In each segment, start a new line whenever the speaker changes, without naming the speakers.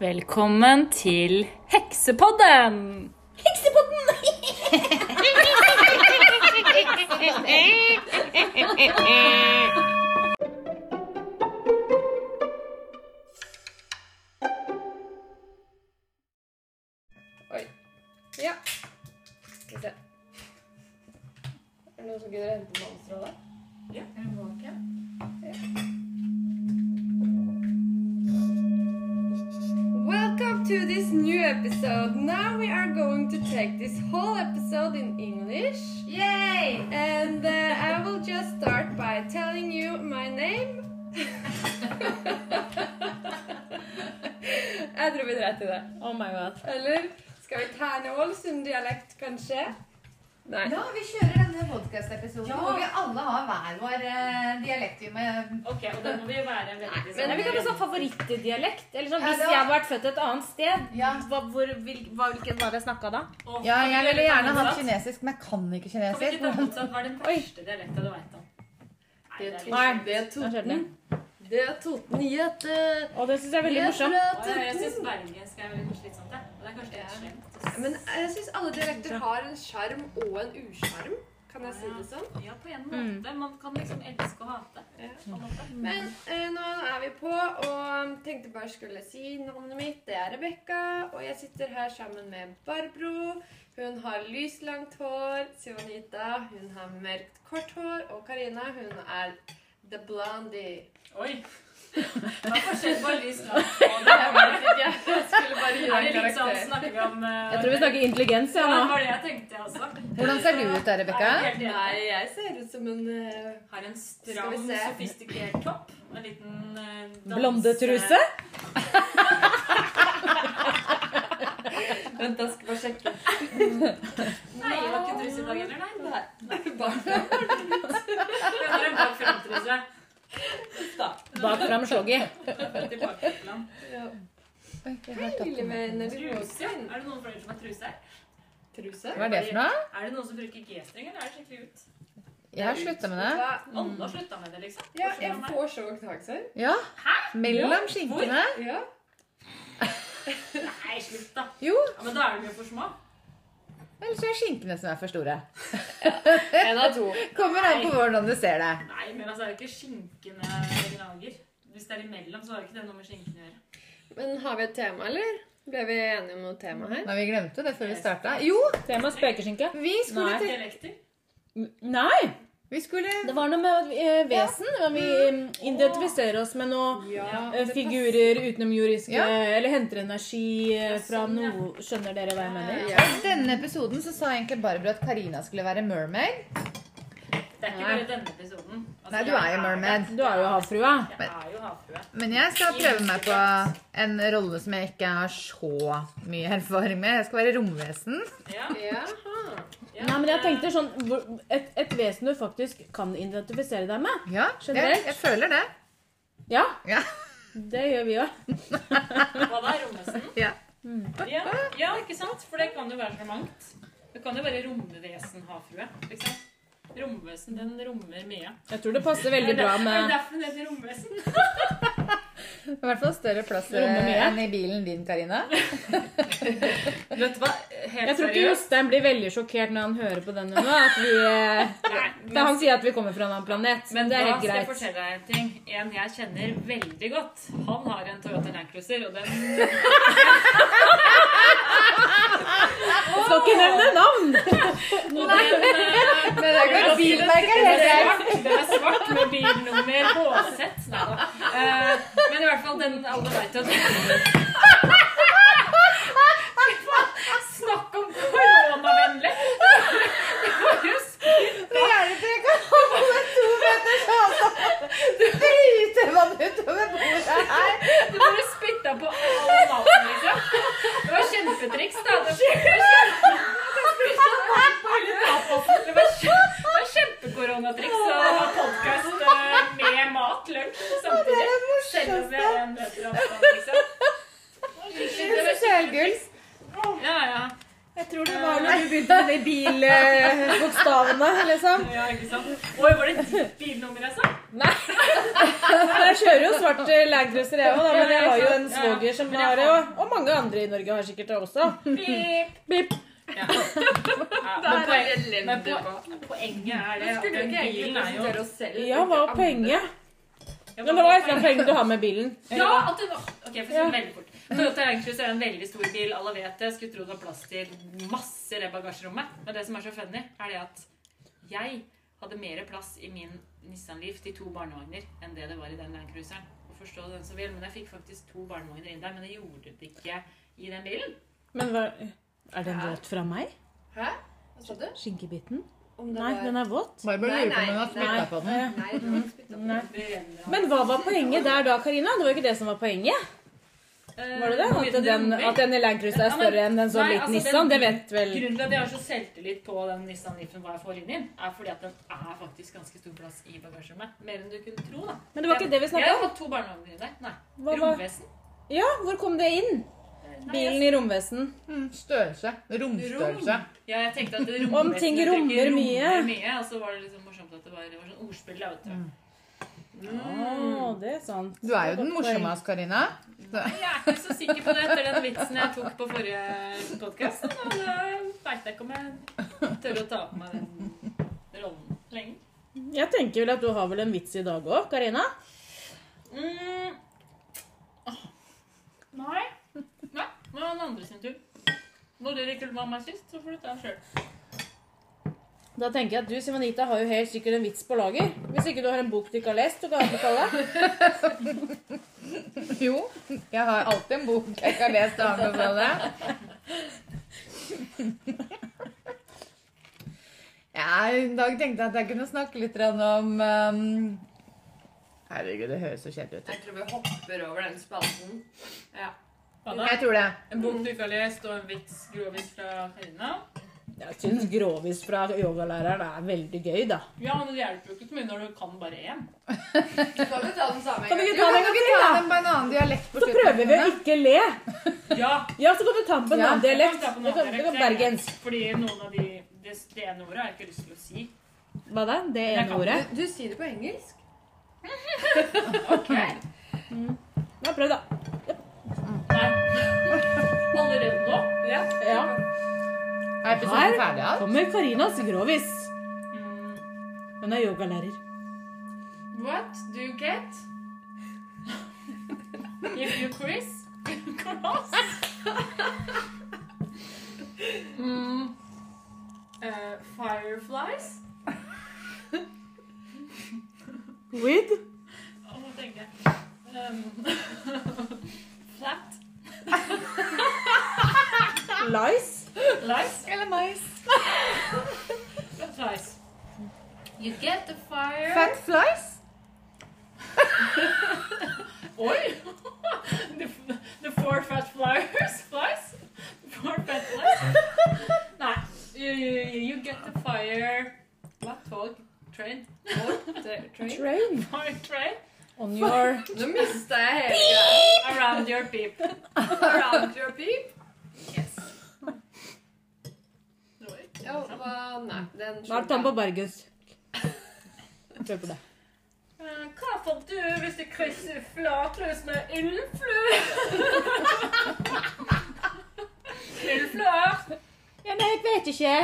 Velkommen til Heksepodden!
Oi. Ja. Skal vi se. Er det noen som gidder å hente monsteret der? Welcome to this new episode. Now we are going to take this whole episode in English. Yay! And uh, I will just start by telling you my name. Jeg tror vi dreit i det.
Oh my god.
Eller skal vi ta en Ålesund-dialekt, kanskje? Nei.
Ja, vi kjører denne podkast-episoden
Ja.
hvor vi alle har hver vår eh, dialekt. Vi med
Ok, og da må vi være veldig sånn-
Men vi kan også ha favorittdialekt. Eller sånn,
Ja,
hvis
det var-
jeg hadde vært født et annet sted,
Ja.
hva, hvor, vil, hva, hvilken var det jeg snakka da?
Å,
ja, jeg ville gjerne hatt
Kan
kinesisk, men jeg kan ikke
vi ikke ta
kinesisk.
motsatt? Hva er den første dialekta du veit om? Nei, det er litt- sånn-
Nei.
det er
Hva skjedde?
Det er Toten Gjete.
Og det syns jeg er veldig morsomt.
Å, ja, Jeg syns bergensk er veldig slitsomt. jeg. Og Det er kanskje litt slemt. å
Men jeg syns alle dialekter har en sjarm og en usjarm. Kan jeg si det sånn?
si. Ja, på en måte. Man kan liksom elske og hate. På en måte.
Men eh, nå er vi på, og tenkte bare skulle si navnet mitt. Det er Rebekka, og jeg sitter her sammen med Barbro. Hun har lyslangt hår. Sivanita, hun har mørkt kort hår. Og Karina, hun er the blondie.
Oi! Hva er forskjellen på lys langt
Jeg
og
vet ikke, jeg skulle bare gi
Er det
deg en
litt sånn
karakter.
snakker vi om eh,
Jeg tror vi snakker intelligens ja,
Ja, det
nå.
var det jeg tenkte, jeg også.
Hvordan ser du ut da, Rebekka?
Er det helt enig?
Nei, jeg ser ut som en eh,
Har en
Skal
stram,
vi se.
sofistikert topp. og En liten eh, danse-
Blondetruse.
Vent, jeg skal bare sjekke.
Nei, det var ikke truse i dag heller, nei.
Nei, bare
Det var en bak fram-truse.
Bak fram slogget.
Tilbake til land.
ja.
Oi, jeg
Hei,
har tatt
lille
den.
venner.
Truse? Er det noen flere som har truse her?
Truse?
Hva er det for noe?
Er det noen som bruker G-streng, eller er det skikkelig ut?
Jeg har slutta med det.
Hva-
Alle har slutta med det, liksom.
Ja,
Hvorfor
jeg
man er-
får så oktaksår.
Ja. Mellom skinkene.
Ja.
Nei, slutt, da.
Jo,
Ja, men da er de jo for små.
ellers er det skinkene som er for store.
En av to.
Kommer an på hvordan du ser det.
Nei, men altså, er det ikke skinkene gnager? Hvis det er imellom, så har jo ikke det noe med skinkene å gjøre.
Men har vi et tema, eller? Ble vi enige om noe tema her?
Nei, vi glemte det før vi starta. Jo,
Tema spøkelseskinke.
vi skulle
Nei.
til
Dialekter?
Nei!
Vi skulle
Det var noe med eh, vesen. om Vi eh, identifiserer oss med noe. eh, Figurer utenomjordiske
Ja.
Eller henter energi eh, fra
sånn, ja.
noe Skjønner dere hva jeg mener?
Ja.
I denne episoden så sa egentlig Barbro at Karina skulle være mermaid.
Det er ikke bare denne episoden. Altså,
Nei, du er jo mermaid.
Du er jo havfrua.
Jeg er jo havfrue.
Men jeg skal prøve meg på en rolle som jeg ikke har så mye erfaring med. Jeg skal være romvesen.
Ja,
Jaha.
ja.
Nei, men jeg tenkte sånn hvor- et, et vesen du faktisk kan identifisere deg med.
Ja, jeg,
Generelt?
jeg føler det.
Ja,
Ja.
det gjør vi jo.
Hva da, romvesen?
Ja.
Ja, ja, ikke sant? For det kan jo være så mangt. Det kan jo være romvesen, havfrue. Liksom. Romvesen, den rommer mye.
Jeg tror det passer veldig bra
Er det
med
derfor den heter romvesen?
I hvert fall større plass
Rommer mye.
enn i bilen din, Karina.
Vet du hva? Helt
Jeg tror ikke Jostein blir veldig sjokkert når han hører på denne nå. At vi, eh, da han sier at vi kommer fra en annen planet.
Men
det er
da
helt
skal jeg
greit.
fortelle deg en ting. En jeg kjenner veldig godt. Han har en Toyota Land Cruiser, og den
Jeg skal ikke nevne navn!
og den, eh,
Men det er
godt.
Bilmerket er
den
helt
er
greit.
svart, den er svart med bilnummer Båsett. Nei da. Eh, Men i hvert fall den alle vet jo at Snakk om koronavennlig! Det var jo
Det hjelper ikke å holde to meters avstand. Driter man utover bordet her.
Du bare spytta på all maten, liksom. Det var kjempetriks, da. Det var kjempe- Det var kjempe- det var kjempekoronatriks å ha podkast med mat, lunsj, samtidig. Selv om vi er en meter avstand, liksom. Det var
Sølgull.
skikkelig- Ja, ja.
Jeg tror det var når du begynte med de bilbokstavene, liksom.
Ja, ikke sant? Oi, var det ditt bilnummer altså? jeg sa?
Jeg kjører jo svart eh, Landcruiser, jeg òg, men jeg har jo en
Ja, ja.
svoger som
Men jeg
har det.
har-
Og og mange andre i Norge har sikkert det også.
Pip!
Pip.
Ja. Ja, men
Der er
poen-
det
men
elendig på.
poen- poenget er det
Nå
at
skulle du
den
ikke egentlig
bilen er jo
presentere oss selv.
Ja, hva er
andre.
poenget?
Ja,
Men det var et eller annet poeng du har med bilen.
Ja! at det var... Ok, for å si
Ja.
det veldig fort. Toyota Landcruise er en veldig stor bil, alle vet det. Skulle tro det var plass til masse i det bagasjerommet. Men det som er så funny, er det at jeg hadde mer plass i min Nissan Leaf til to barnevogner enn det det var i den Landcruiseren. Og Forstå den som vil, men jeg fikk faktisk to barnevogner inn der, men det gjorde det ikke i den bilen.
Men hva Er det en våt fra meg?
Hæ? Hva sa du?
Skinkebiten?
Om det
Nei,
var-
den er våt.
Nei,
Barbara lurer på om hun har
nei,
nei. eh,
spytta på den.
Nei, det var ikke spyttet på.
Nei.
Det renner av.
Men hva var poenget der da, Karina? Det var jo ikke det som var poenget.
Eh,
Var det det? At den, at denne Landcruiser er
Ja, men-
større enn en
Nei,
sånn
altså,
liten
den-
Nissan? Det vet vel
Grunnen til at jeg har så selvtillit på den Nissan Leafen hva jeg får inn i, den, er fordi at den er faktisk ganske stor plass i bagasjerommet. Mer enn du kunne tro, da.
Men det var ikke det vi
Jeg
snakka
har
om.
fått to barnevogner i der. Nei.
Hva var-
Romvesen.
Ja, hvor kom det inn?
Nei,
Bilen i romvesten.
Mm, Størrelse. Romstørrelse.
Rom. Ja, jeg tenkte at romvesen
Om ting
uttrykket
rommer mye.
mye. Og så var det liksom morsomt at det var, det var sånn ordspill. Da, vet du. Mm.
Å, det er sant.
Du er jo den morsomste, Karina.
Jeg er ikke så sikker på det etter den vitsen jeg tok på forrige podkast. Og da veit jeg ikke om jeg tør å ta på meg den rollen lenger.
Jeg tenker vel at du har vel en vits i dag òg, Karina?
Mm. Åh. Nei. Nei. Nå er den andre sin tur. Når dere ikke var meg sist, så får du ta den sjøl.
Da tenker jeg at du, Simonita, har jo helt sikkert en vits på lager. Hvis ikke du har en bok du ikke har lest, du kan anbefale.
Jo, jeg har alltid en bok jeg ikke har lest og anbefale. Ja, I dag tenkte jeg at jeg kunne snakke litt grann om ehm, Herregud, det høres så kjedelig ut.
Jeg tror vi hopper over den spalten. Ja.
Jeg tror det.
En bok du ikke har lest, og en vits, grovis fra Karina.
Jeg syns grovis fra yogalæreren er veldig gøy, da.
Ja, men det hjelper jo ikke så mye når du kan bare én.
Du kan jo ta den samme.
Kan du ikke
Du kan
ta
jo
den en gang
ikke
til,
ta
da?
den på en annen dialekt på
Så prøver vi å
Karina.
ikke le.
Ja.
Ja, så kan du ta den på en
Ja,
annen
jeg kan
dialekt.
ta på en
Du kan,
annen
du kan
dialekt, jeg.
bergensk.
Fordi noen av de Det, det ene ordet har jeg ikke lyst til å si.
Hva da? Det
Jeg
ene
kan
ordet?
Du, du sier det på engelsk.
Ja, prøv, da.
Nei. Allerede nå? Ja.
Ja.
Er episoden ferdig? Ja?
Kommer Karinas grovis.
Mm,
Hun er yogalærer.
What do you get if you quiz? Cross? mm, uh, fireflies?
With
Å, nå tenker jeg. Um, flat
lies.
lies?
Eller mais?
Flat lies. You get the fire
Fat flies?
Oi! the, the four fat flyers? Flies? Four fat flies? Nei. You, you, you get the fire What tog? Train? Train?
Train
Fire train?
on your
Nå mista jeg hele greia.
Around your peep.
Around your peep.
Yes. Det var ikke
Ja, hva- nei, den
Da er det ta den på bergensk. Prøv på det.
Eh, Hva får du hvis du krysser flatløs med ildflue? Ildfluer?
Ja, men jeg vet ikke.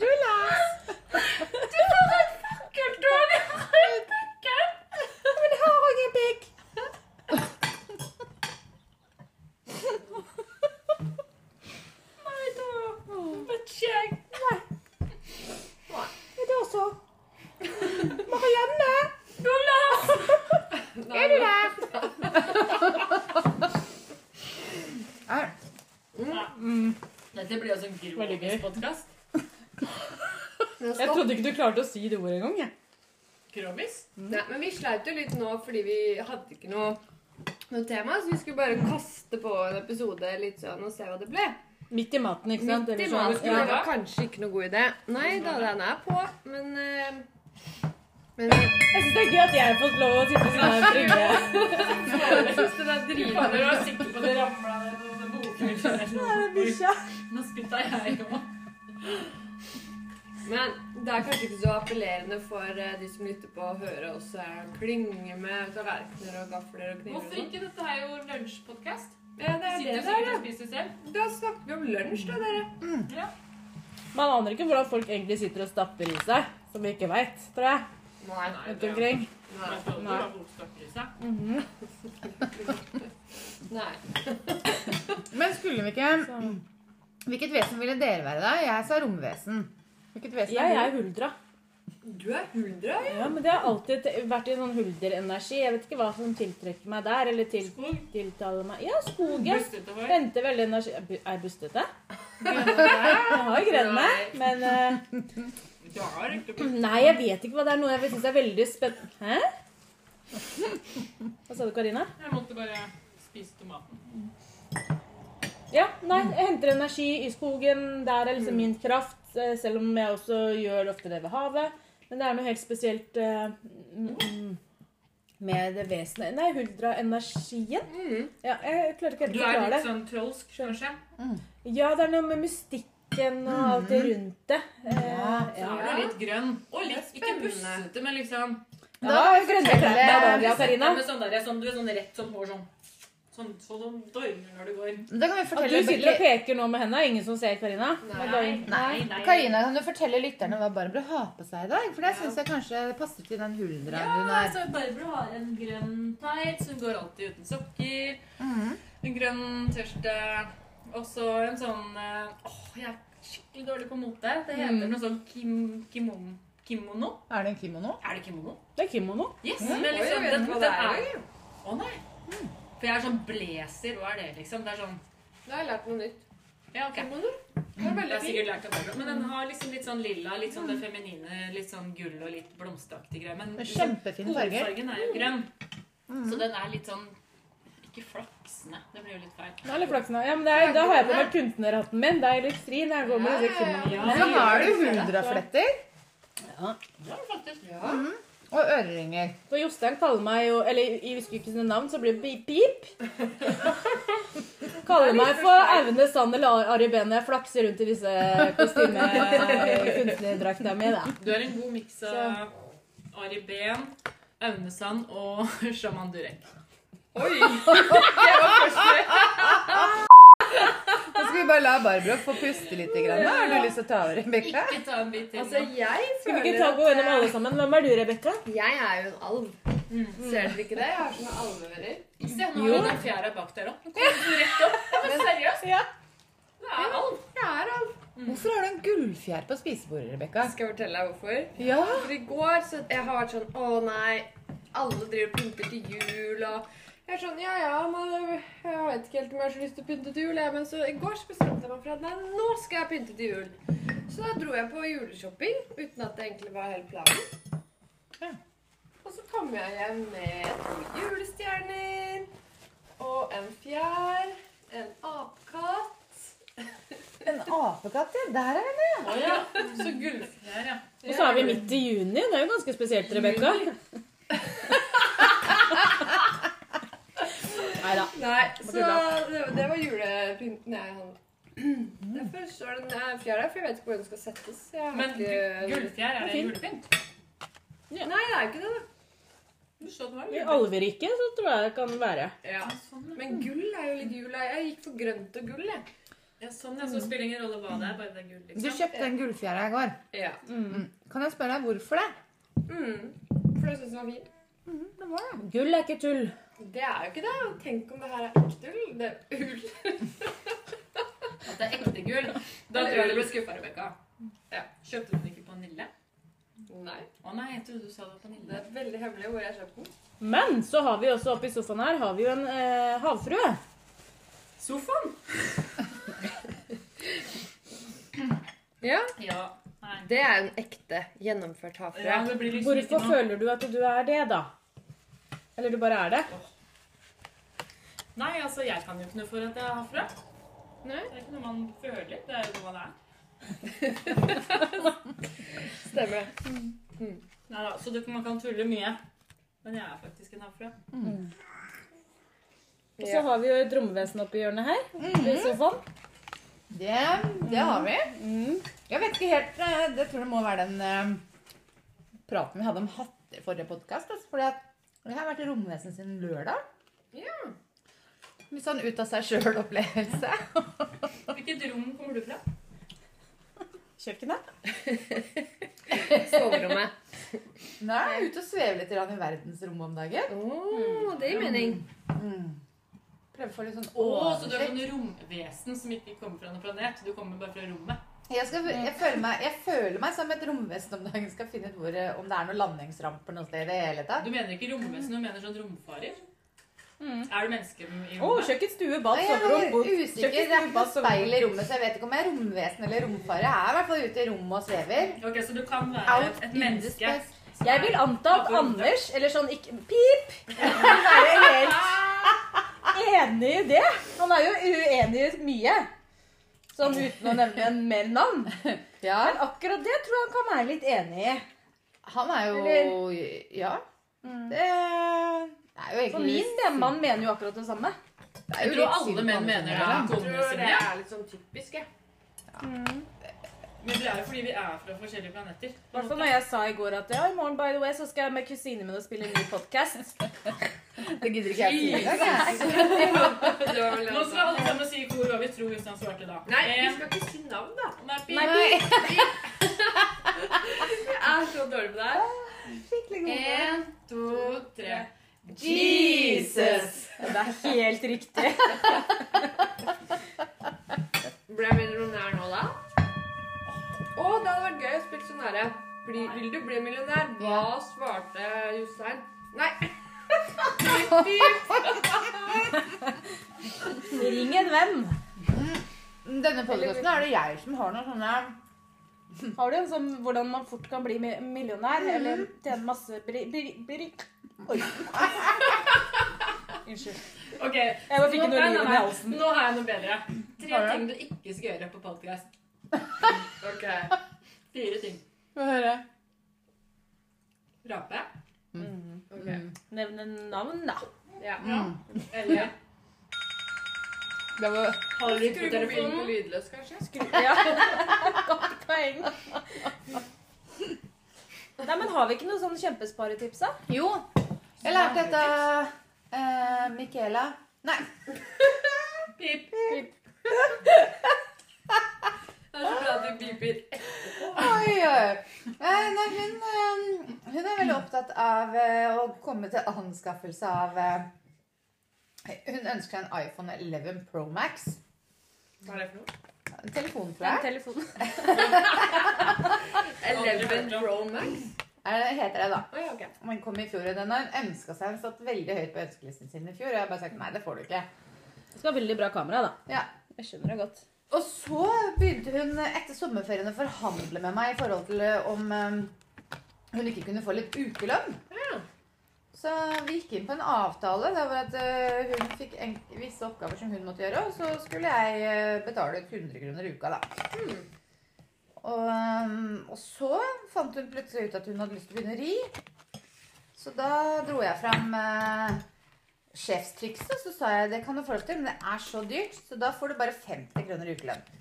Du får et fucking dårlig rekke!
Men jeg har òg en pikk.
Nei da, vet ikke jeg.
Men da så. Marianne,
Jonas!
er du der?
Er.
Dette blir jo sånn
Veldig gøy.
grovis podkast.
Jeg trodde ikke du klarte å si det ordet engang. jeg.
Grovis?
Nei, men vi sleit jo litt nå fordi vi hadde ikke noe, noe tema, så vi skulle bare kaste på en episode litt sånn og se hva det ble.
Midt i maten, ikke sant?
Midt i
Eller sånn,
maten
ja.
det var kanskje ikke noe god idé. Nei da, den er på, men eh, Men jeg
Jeg syns det er gøy at jeg har fått lov å sitte sånn her og brygge.
syns den
Du
er
kan
drivende.
jo være sikker på at det ramla ned noen
er bikkja.
Nå spytta jeg òg.
Men det er kanskje ikke så appellerende for eh, de som lytter på å høre oss eh, klynge med tallerkener og gafler og kniver. og
Hvorfor
sånn.
ikke? Dette er jo lunsjpodkast.
Ja, det er det
Sitter
det
sikkert
er.
og spiser selv.
Da Da snakker vi om lunsj, da, dere.
Ja.
Man aner ikke hvordan folk egentlig sitter og stapper i seg, som vi ikke veit, tror jeg.
Nei.
Nei,
Rundt omkring.
Nei.
Nei. Nei.
Mhm.
Nei.
Men skulle vi ikke Hvilket vesen ville dere være, da? Jeg sa romvesen. Hvilket vesen
Jeg
er
er huldra.
Du er huldra, ja.
Ja, men det har alltid vært en sånn hulderenergi. Jeg vet ikke hva som tiltrekker meg der. Eller til,
Skog.
tiltaler meg Ja, skogen.
Bustete hår.
Henter veldig energi Er bu- er jeg bustete?
Grønne
Jeg har jo grenet meg, men eh,
bær. Du har ikke
Nei, jeg vet ikke hva det er nå. Jeg syns det er veldig spennende Hæ? Hva sa du, Karina?
Jeg måtte bare spise tomaten.
Ja, nei, jeg henter energi i skogen. Der er liksom min kraft. eh, Selv om jeg også gjør det ofte det ved havet. Men det er noe helt spesielt eh, mm, mm, med det vesenet Nei, huldra-energien.
Mm.
Ja, jeg klarer ikke helt
Du
å
er
forklare
litt
det.
sånn trolsk, kanskje?
Ja, det er noe med mystikken og
Mm.
alt det rundt det. Eh,
Ja,
Så er
ja.
du litt grønn. Og litt,
Det
ikke
er spennende.
bussete, men liksom
Ja, Da er jo grønne klær
Fortell,
der, ja,
Ja,
Karina.
men sånn der, ja, sånn, du er sånn rett som hår sånn. Sånn sånn som dormer når du går.
Da kan vi
At
fortelle
du sitter og peker nå med henda, ingen som ser Karina?
Nei.
Bare-
Karina, kan du fortelle lytterne hva Barbro har på seg i dag? For det syns jeg kanskje passer til den huldra
Ja,
hun er.
altså Barbro har en grønn tights, hun går alltid uten sokker.
Mm.
Mhm.
En grønn T-skjorte. Og så en sånn eh, Åh, jeg er skikkelig dårlig på mote. Det heter
Mm.
noe sånn kim, kimon, kimono.
Er det en kimono?
Er det kimono?
Det er kimono.
Yes!
Mm.
Men
Oi, jeg
liksom,
vet
den,
ikke hva
den
det er, Mm.
er Å nei. For jeg er sånn blazer. Hva er det, liksom? Det er sånn
Da har jeg lært noe nytt.
Ja, ok.
Kimono. Det er
Det
veldig
er
fint.
sikkert lært av Barbro. Men den har liksom litt sånn lilla, litt sånn det feminine, litt sånn gull og litt blomsteraktig greie. Men
Med
liksom,
Kjempefine farger.
hovedfargen er jo grønn. Så den er litt sånn Ikke flaksende. Det blir jo litt feil.
Nå er litt flaksen. Ja, men det er, da har jeg på meg kunstnerhatten min. Det er elektrin. Jeg går med disse kimonoene.
Ja,
Så har du huldrafletter
det er det faktisk.
Ja.
og øreringer.
For Jostein kaller meg jo Eller jeg husker ikke sine navn, så blir det blir pip. Kaller meg for Aune Sand eller Ari Behn når jeg flakser rundt i disse kostymekunstnerdrakta mi. da.
Du er en god miks av Ari Behn, Aune Sand og Shaman Durek.
Oi!
Nå skal vi bare la Barbro få puste litt. Grann. da. Har du lyst til å ta over, Rebekka?
Ikke ta en bit til.
Altså,
nå.
jeg
Skal vi
føler
ikke ta og gå gjennom alle sammen? Hvem er du, Rebekka?
Jeg er jo en alv. Ser dere ikke det? Jeg har sånne alveører.
Se, nå er den fjæra bak der òg. Nå kommer du rett opp. Ja, men seriøst.
Ja.
Det er alt.
Jeg er alv.
Hvorfor har du en gullfjær på spisebordet, Rebekka?
Skal jeg fortelle deg hvorfor?
Ja.
For i går så jeg har vært sånn Å nei, alle driver og pynter til jul og Jeg er sånn Ja ja, men jeg vet ikke helt om jeg har så lyst til å pynte til jul, jeg. Men så i går så bestemte jeg meg for at nei, nå skal jeg pynte til jul. Så da dro jeg på juleshopping uten at det egentlig var hele planen.
Ja.
Og så kom jeg hjem med to julestjerner og en fjær, en apekatt
En apekatt, ja. Der er den.
Å ja. Så gullfjær, ja.
Og så er vi midt i juni. Det er jo ganske spesielt, Rebekka. Nei da.
Nei,
Må
så
du la-
det, det var julepynten jeg hadde. Derfor står den her fjær der, for jeg vet ikke hvor den skal settes. Jeg har
Men
ikke-
gu- gullfjær, er det en julepynt?
Nei, det er ikke det, da.
Du så det var
I
en julepynt.
alveriket så tror jeg det kan være.
Ja, sånn, ja.
Men gull er jo litt jul. jeg- Jeg gikk for grønt og gull, jeg.
ja, sånn, ja. Så spiller det ingen rolle hva det er, bare det er gull,
Du
liksom.
kjøpte den gullfjæra i går.
Ja.
Mm. Kan jeg spørre deg hvorfor det?
Mm. For jeg syns den var fin.
Det var det.
Gull er ikke tull.
Det er jo ikke det. og Tenk om det her er ekte ull. Det er ull.
At det er ekte gull. Da tror jeg du ble skuffa, Rebekka. Ja. Kjøpte du den ikke på Nille?
Nei,
Å nei, jeg trodde du sa det var på
det
Nille.
er veldig hemmelig hvor jeg kjøpte den.
Men så har vi også oppe i sofaen her har vi jo en eh, havfrue.
Sofaen?
Ja,
Ja. Nei.
det er en ekte gjennomført
Ja, det blir liksom
Hvorfor
ikke noe.
føler du at du er det, da? Eller du bare er det?
Nei, altså, jeg kan jo ikke noe for at jeg er hafra.
Nei.
Det er ikke noe man føler, det er jo noe man er.
Stemmer det.
Neida, så det, man kan tulle mye. Men jeg er faktisk en hafra.
Og så har vi jo et romvesen oppi hjørnet her.
Mhm.
I sofaen.
Det, det har vi. Jeg vet ikke helt eh, Jeg tror det må være den eh, praten vi hadde om hatter i forrige podkast. Altså, fordi at jeg har vært i romvesen siden lørdag. Litt sånn ut av seg sjøl-opplevelse.
Hvilket rom kommer du fra?
Kjøkkenet.
Soverommet.
Nei, jeg er ute og svever litt grann i verdensrommet om dagen. Mm.
Oh, det gir mening.
Prøver å få litt sånn
Å, så du er
oversikt.
sånn romvesen som ikke kommer fra noen planet. Du kommer bare fra rommet.
Jeg, skal, jeg, føler meg, jeg føler meg som et romvesen om dagen. Skal finne ut hvor, eh, om det er noen landingsramper noe sted i det hele tatt.
Du mener ikke romvesen, du mener sånn romfarer.
Mm.
Er du menneske i
Å,
rommet?
kjøkken, stue, bad,
Nei,
soverom,
jeg
bod.
er usikker. Det er ikke speil i rommet, så jeg vet ikke om jeg er romvesen eller romfare. Jeg er i hvert fall ute i rommet og svever.
Ok, Så du kan være
Out
et
in the
menneske
space.
som
Jeg vil
er-
anta at
Bakgrunn.
Anders, eller sånn ikke Pip! Han er jo helt enig i det. Han er jo uenig i mye. Sånn uten å nevne en mer navn.
Ja,
Men akkurat det tror jeg han kan være litt enig i.
han er jo
Eller-
Ja. Det er jo
For
egentlig
min menn mener jo akkurat det samme.
det er jo
Jeg tror
litt synd
alle
på
menn
andre
mener det.
generelt.
er
Jeg
konene
tror det
sine.
er litt sånn typisk, jeg.
Men det er jo fordi vi er fra forskjellige planeter.
I hvert fall når jeg sa i går at ja, i morgen by the way, så skal jeg med kusinen min og spille en ny podkast.
Det gidder ikke jeg å si engang. jeg.
Det var vel
Nå skal alle sammen si i kor hva vi tror hvis han svarte da.
Nei, vi
En,
skal ikke si navn, da.
nei, pi-
Nei.
Jeg er så dårlig på det her.
En, to, tre.
Jesus! Det er helt riktig.
Ble jeg millionær nå, da? Å, det hadde vært gøy å spille sånn herre. Bli- Vil du bli millionær? Hva svarte Jostein? Nei.
Ring en venn.
Denne podkasten er det jeg som har noen sånne
Har du en sånn hvordan man fort kan bli mi- millionær? Eller tjene masse bri... bri, bri. Oi. Unnskyld.
Ok,
Jeg bare fikk
nå-
noe
nei,
liv i
nei, nei.
halsen.
Nå har jeg noe bedre. Tre
Har du?
ting du ikke skal gjøre på podcast.
Ok.
Fire ting.
Få høre.
Rape.
ok.
Nevne navn, da.
Ja.
Eller
Det var
holde litt på
Skru mobilen på
telefonen.
lydløs, kanskje?
Ja. Godt poeng. Nei, men har vi ikke noe sånn kjempesparetips, da?
Jo, jeg lærte dette eh, Michaela Nei.
Pip.
Det er så bra at du piper.
Oi, oi. Eh, nei, hun, eh, hun er veldig opptatt av eh, å komme til anskaffelse av eh, Hun ønsker seg en iPhone 11 Pro Max.
Hva er det for noe?
En telefon, tror
Den
jeg.
telefonen.
11 Pro Max?
Er det, heter det, da.
Å ja, ok.
Men kom i fjor, og Den har hun ønska seg. Hun stått veldig høyt på ønskelisten sin i fjor. Og jeg har bare sagt nei, det får du ikke.
Skal ha veldig bra kamera, da.
Ja.
Jeg skjønner det godt.
Og så begynte hun eh, etter sommerferien å forhandle med meg i forhold til eh, om eh, hun ikke kunne få litt ukelønn. Så vi gikk inn på en avtale der hvor at eh, hun fikk en, visse oppgaver som hun måtte gjøre, og så skulle jeg eh, betale ut 100 kroner i uka, da.
Hmm.
Og, eh, og så fant hun plutselig ut at hun hadde lyst til å begynne å ri. Så da dro jeg fram eh, sjefstrikset, så sa jeg det kan du få lov til, men det er så dyrt, så da får du bare 50 kroner i ukelønn.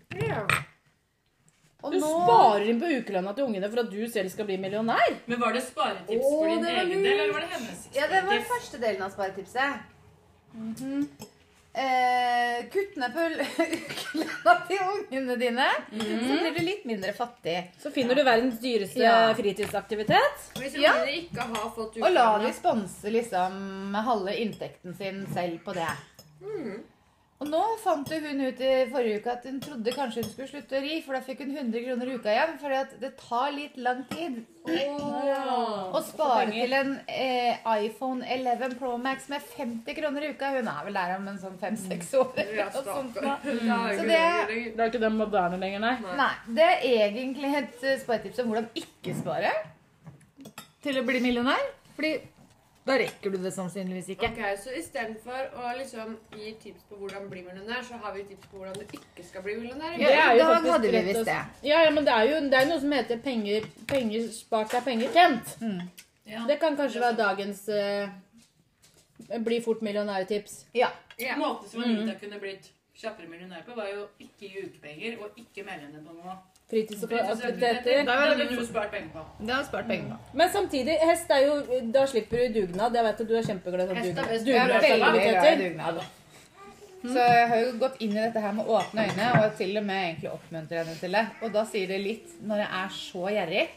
Og
Du sparer inn på ukelønna til ungene for at du selv skal bli millionær.
Men var det sparetips
Å,
for din
det var
egen
lurt.
del, eller var det hennes?
Ja, det var
sparetips?
første delen av sparetipset. eh, kutt ned på ukelønna til ungene dine, så blir du litt mindre fattig.
Så finner du verdens dyreste
Ja.
fritidsaktivitet.
Hvis
Ja.
ungene ikke har fått
Og la de
utlån
sponse liksom halve inntekten sin selv på det. Og nå fant jo hun ut i forrige uke at hun trodde kanskje hun skulle slutte å ri, for da fikk hun 100 kroner i uka igjen, fordi at det tar litt lang tid å spare til en eh, iPhone 11 Pro Max med 50 kroner i uka. Hun er vel der om en sånn fem-seks år.
Ja,
eller noe sånt.
stakkar. Da er
sånn, Så
jo
det-
ikke
Det er ikke den moderne lenger, nei.
Nei, det er egentlig et eh, sparetips om hvordan ikke spare til å bli millionær. Fordi da rekker du det sannsynligvis ikke.
Ok, Så istedenfor å liksom gi tips på hvordan bli millionær, så har vi tips på hvordan du ikke skal bli millionær?
Ja. det er jo
I dag
faktisk
hadde vi
rett og
visst det.
Ja, ja, men det er jo det er noe som heter penger, penger spart er penger tjent.
Ja.
Det kan kanskje være dagens eh, Bli fort millionærtips.
Ja. Måten som Anita kunne blitt kjappere millionær på, var jo ikke gi ukepenger og ikke melde henne på noe.
Fritidsaktiviteter.
Det hadde du spart penger på.
Det har jeg spart penger på.
Men samtidig, hest er jo Da slipper du dugnad. Jeg vet at du er kjempeglad i
Hest er
dugnad.
best.
Jeg er veldig Mm. glad i
Dugnadsaktiviteter.
dugnad. Så jeg har jo gått inn i dette her med åpne øyne og til og med egentlig oppmuntrer henne til det. Og da sier det litt, når jeg er så gjerrig,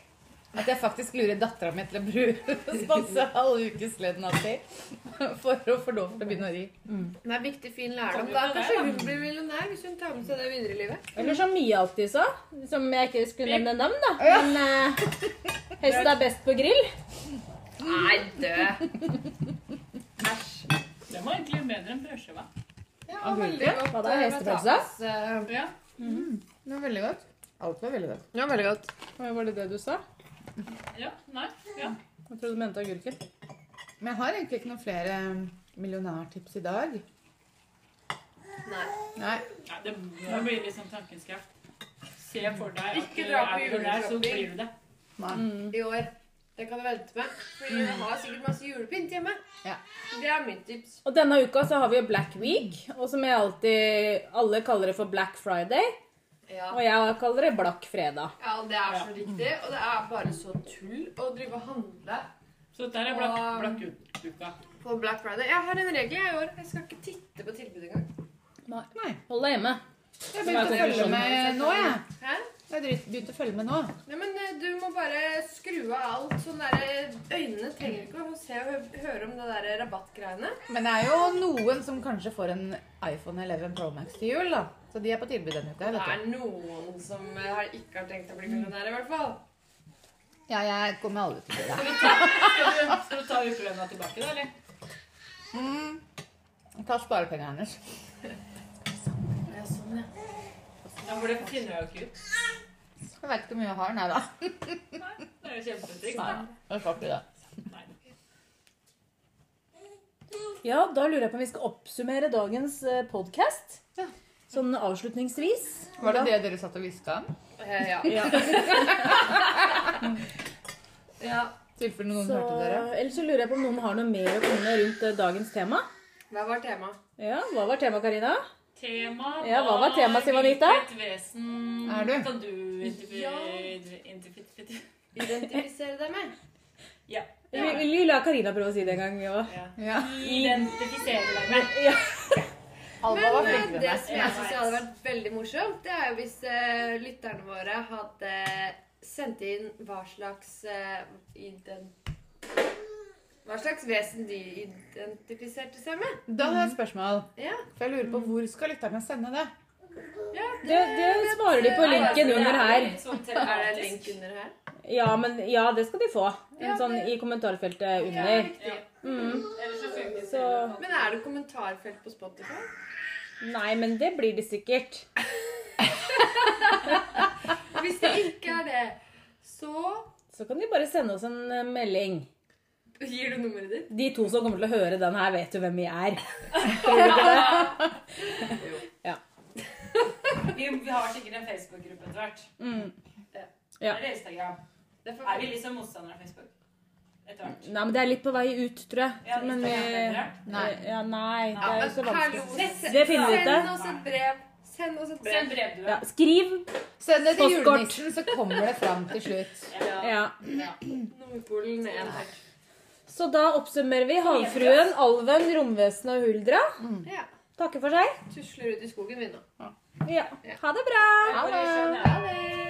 at jeg faktisk lurer dattera mi til å bruke sponse halv ukeslønna si for å få lov til å begynne å ri.
Det er viktig, fin
Kan
lærdom.
vi
Da
gjøre det,
kanskje
da?
hun blir millionær hvis hun tar med seg det videre i livet.
Eller som Mia alltid sa, som jeg ikke skulle nevne navn, da. Men eh, hest er best på grill.
Nei, dø!
Æsj. Den var egentlig bedre enn brødskiva.
Ja,
veldig
godt. eh,
Hva da, hestepølse?
Ja.
Det var veldig godt. Alt var veldig godt.
Ja, veldig godt.
Var det det du sa?
ja. Nei. Ja.
Jeg trodde du mente agurker.
Men jeg har egentlig ikke noen flere um, millionærtips i dag.
Nei.
Nei.
Nei, det nå blir litt sånn tankens kraft. Se for deg at
Ikke
du
dra på
er millionær, så
juleshopping.
blir du det.
Mm.
I år. Det kan du vente med. Fordi jeg har sikkert masse julepynt hjemme.
Ja.
Det er mitt tips.
Og denne uka så har vi jo Black Week, og som jeg alltid Alle kaller det for Black Friday,
Ja.
og jeg kaller det Black Fredag.
ja, det er så riktig. Og det er bare så tull å drive og handle
Så dette er blakk,
Og-
blakk ut- uka.
på Black Friday. Jeg har en regel jeg i år. Jeg skal ikke titte på tilbudet engang.
Nei.
Hold deg hjemme.
Jeg begynte å følge med nå, jeg.
Hæ?
Jeg begynte å følge med nå.
Nei, men eh, Du må bare skru av alt. sånn der, eh, Øynene trenger ikke å se og hø- høre om det der rabattgreiene.
Men det er jo noen som kanskje får en iPhone 11 Pro Max til jul, da. Så de er på tilbud denne uka.
Det
vet du.
er noen som eh, har- ikke har tenkt å bli millionær, i hvert fall.
Ja, jeg kommer aldri til å bli det.
Skal du, skal du ta ukelønna tilbake, da, eller?
Ta sparepengene hennes.
Ja, sånn, ja.
Ja, for det finner jeg jo ikke ut.
Jeg vet ikke hvor mye jeg har, nei da.
Det er jo kjempetriks, da.
Jeg skal ikke det.
Nei.
Ja, da lurer jeg på om vi skal oppsummere dagens podkast.
Ja.
Sånn avslutningsvis.
Var det det dere satt og hviska om?
Eh, ja.
Ja.
ja.
I tilfelle noen
Så,
hørte dere.
ellers så lurer jeg på om noen har noe mer å komme med rundt eh, dagens tema.
Hva var temaet?
Ja, Hva var temaet, Karina?
Tema
Ja, hva var temaet, Sivanita?
Hvilket vesen
Er du?
kan du identifisere
Ja. Identifisere deg med.
Ja.
Vi vi- vi la Karina prøve å si det en gang. Ja.
Ja.
Ja.
Identifisere deg med.
Alba var
Men
flink
eh,
til
det
det.
som jeg syns hadde vært veldig morsomt, det er jo hvis eh, lytterne våre hadde sendt inn hva slags eh, ident... Hva slags vesen de identifiserte seg med.
Da har jeg et spørsmål.
Ja,
For jeg lurer på hvor skal lytterne sende det?
ja
Det,
Eh,
det svarer de på
Altså,
linken under her.
Er det en link under her?
Ja, men, ja det skal de få. En
Ja,
sånn
det-
I kommentarfeltet
Ja,
under.
riktig.
Mm.
Ellers så funker
Så
Men er det kommentarfelt på Spotify?
Nei, men det blir det sikkert.
Hvis det ikke er det, så
Så kan de bare sende oss en eh, melding.
gir du nummeret ditt.
De to som kommer til å høre den her, vet jo hvem vi er. Tror du ikke det?
Vi, vi har sikkert en Facebook-gruppe etter hvert.
Mm. Ja.
Eller Instagram.
Det får
Er vi
vi-
liksom motstandere av Facebook? Etter hvert.
Nei, men det er litt på vei ut, tror jeg.
Ja,
Men vi
Instagram er etter hvert.
Nei.
Ja, nei, det er jo så
Ja, men
vanskelig.
hallo,
vanskelig.
se-
Det finner vi ut
Send
av.
oss et brev. Send oss et brev.
Send brev, du.
Ja, skriv.
Send det til
Postkort.
julenissen, så kommer det fram til slutt.
Ja.
Ja.
Nordpolen ned.
Så da oppsummerer vi Havfruen, Alven, Romvesenet og Huldra.
Ja.
Takker for seg.
Tusler ut i skogen, vi nå.
Ja. Ha det bra.
Ja, det skjønner jeg.
Ha det!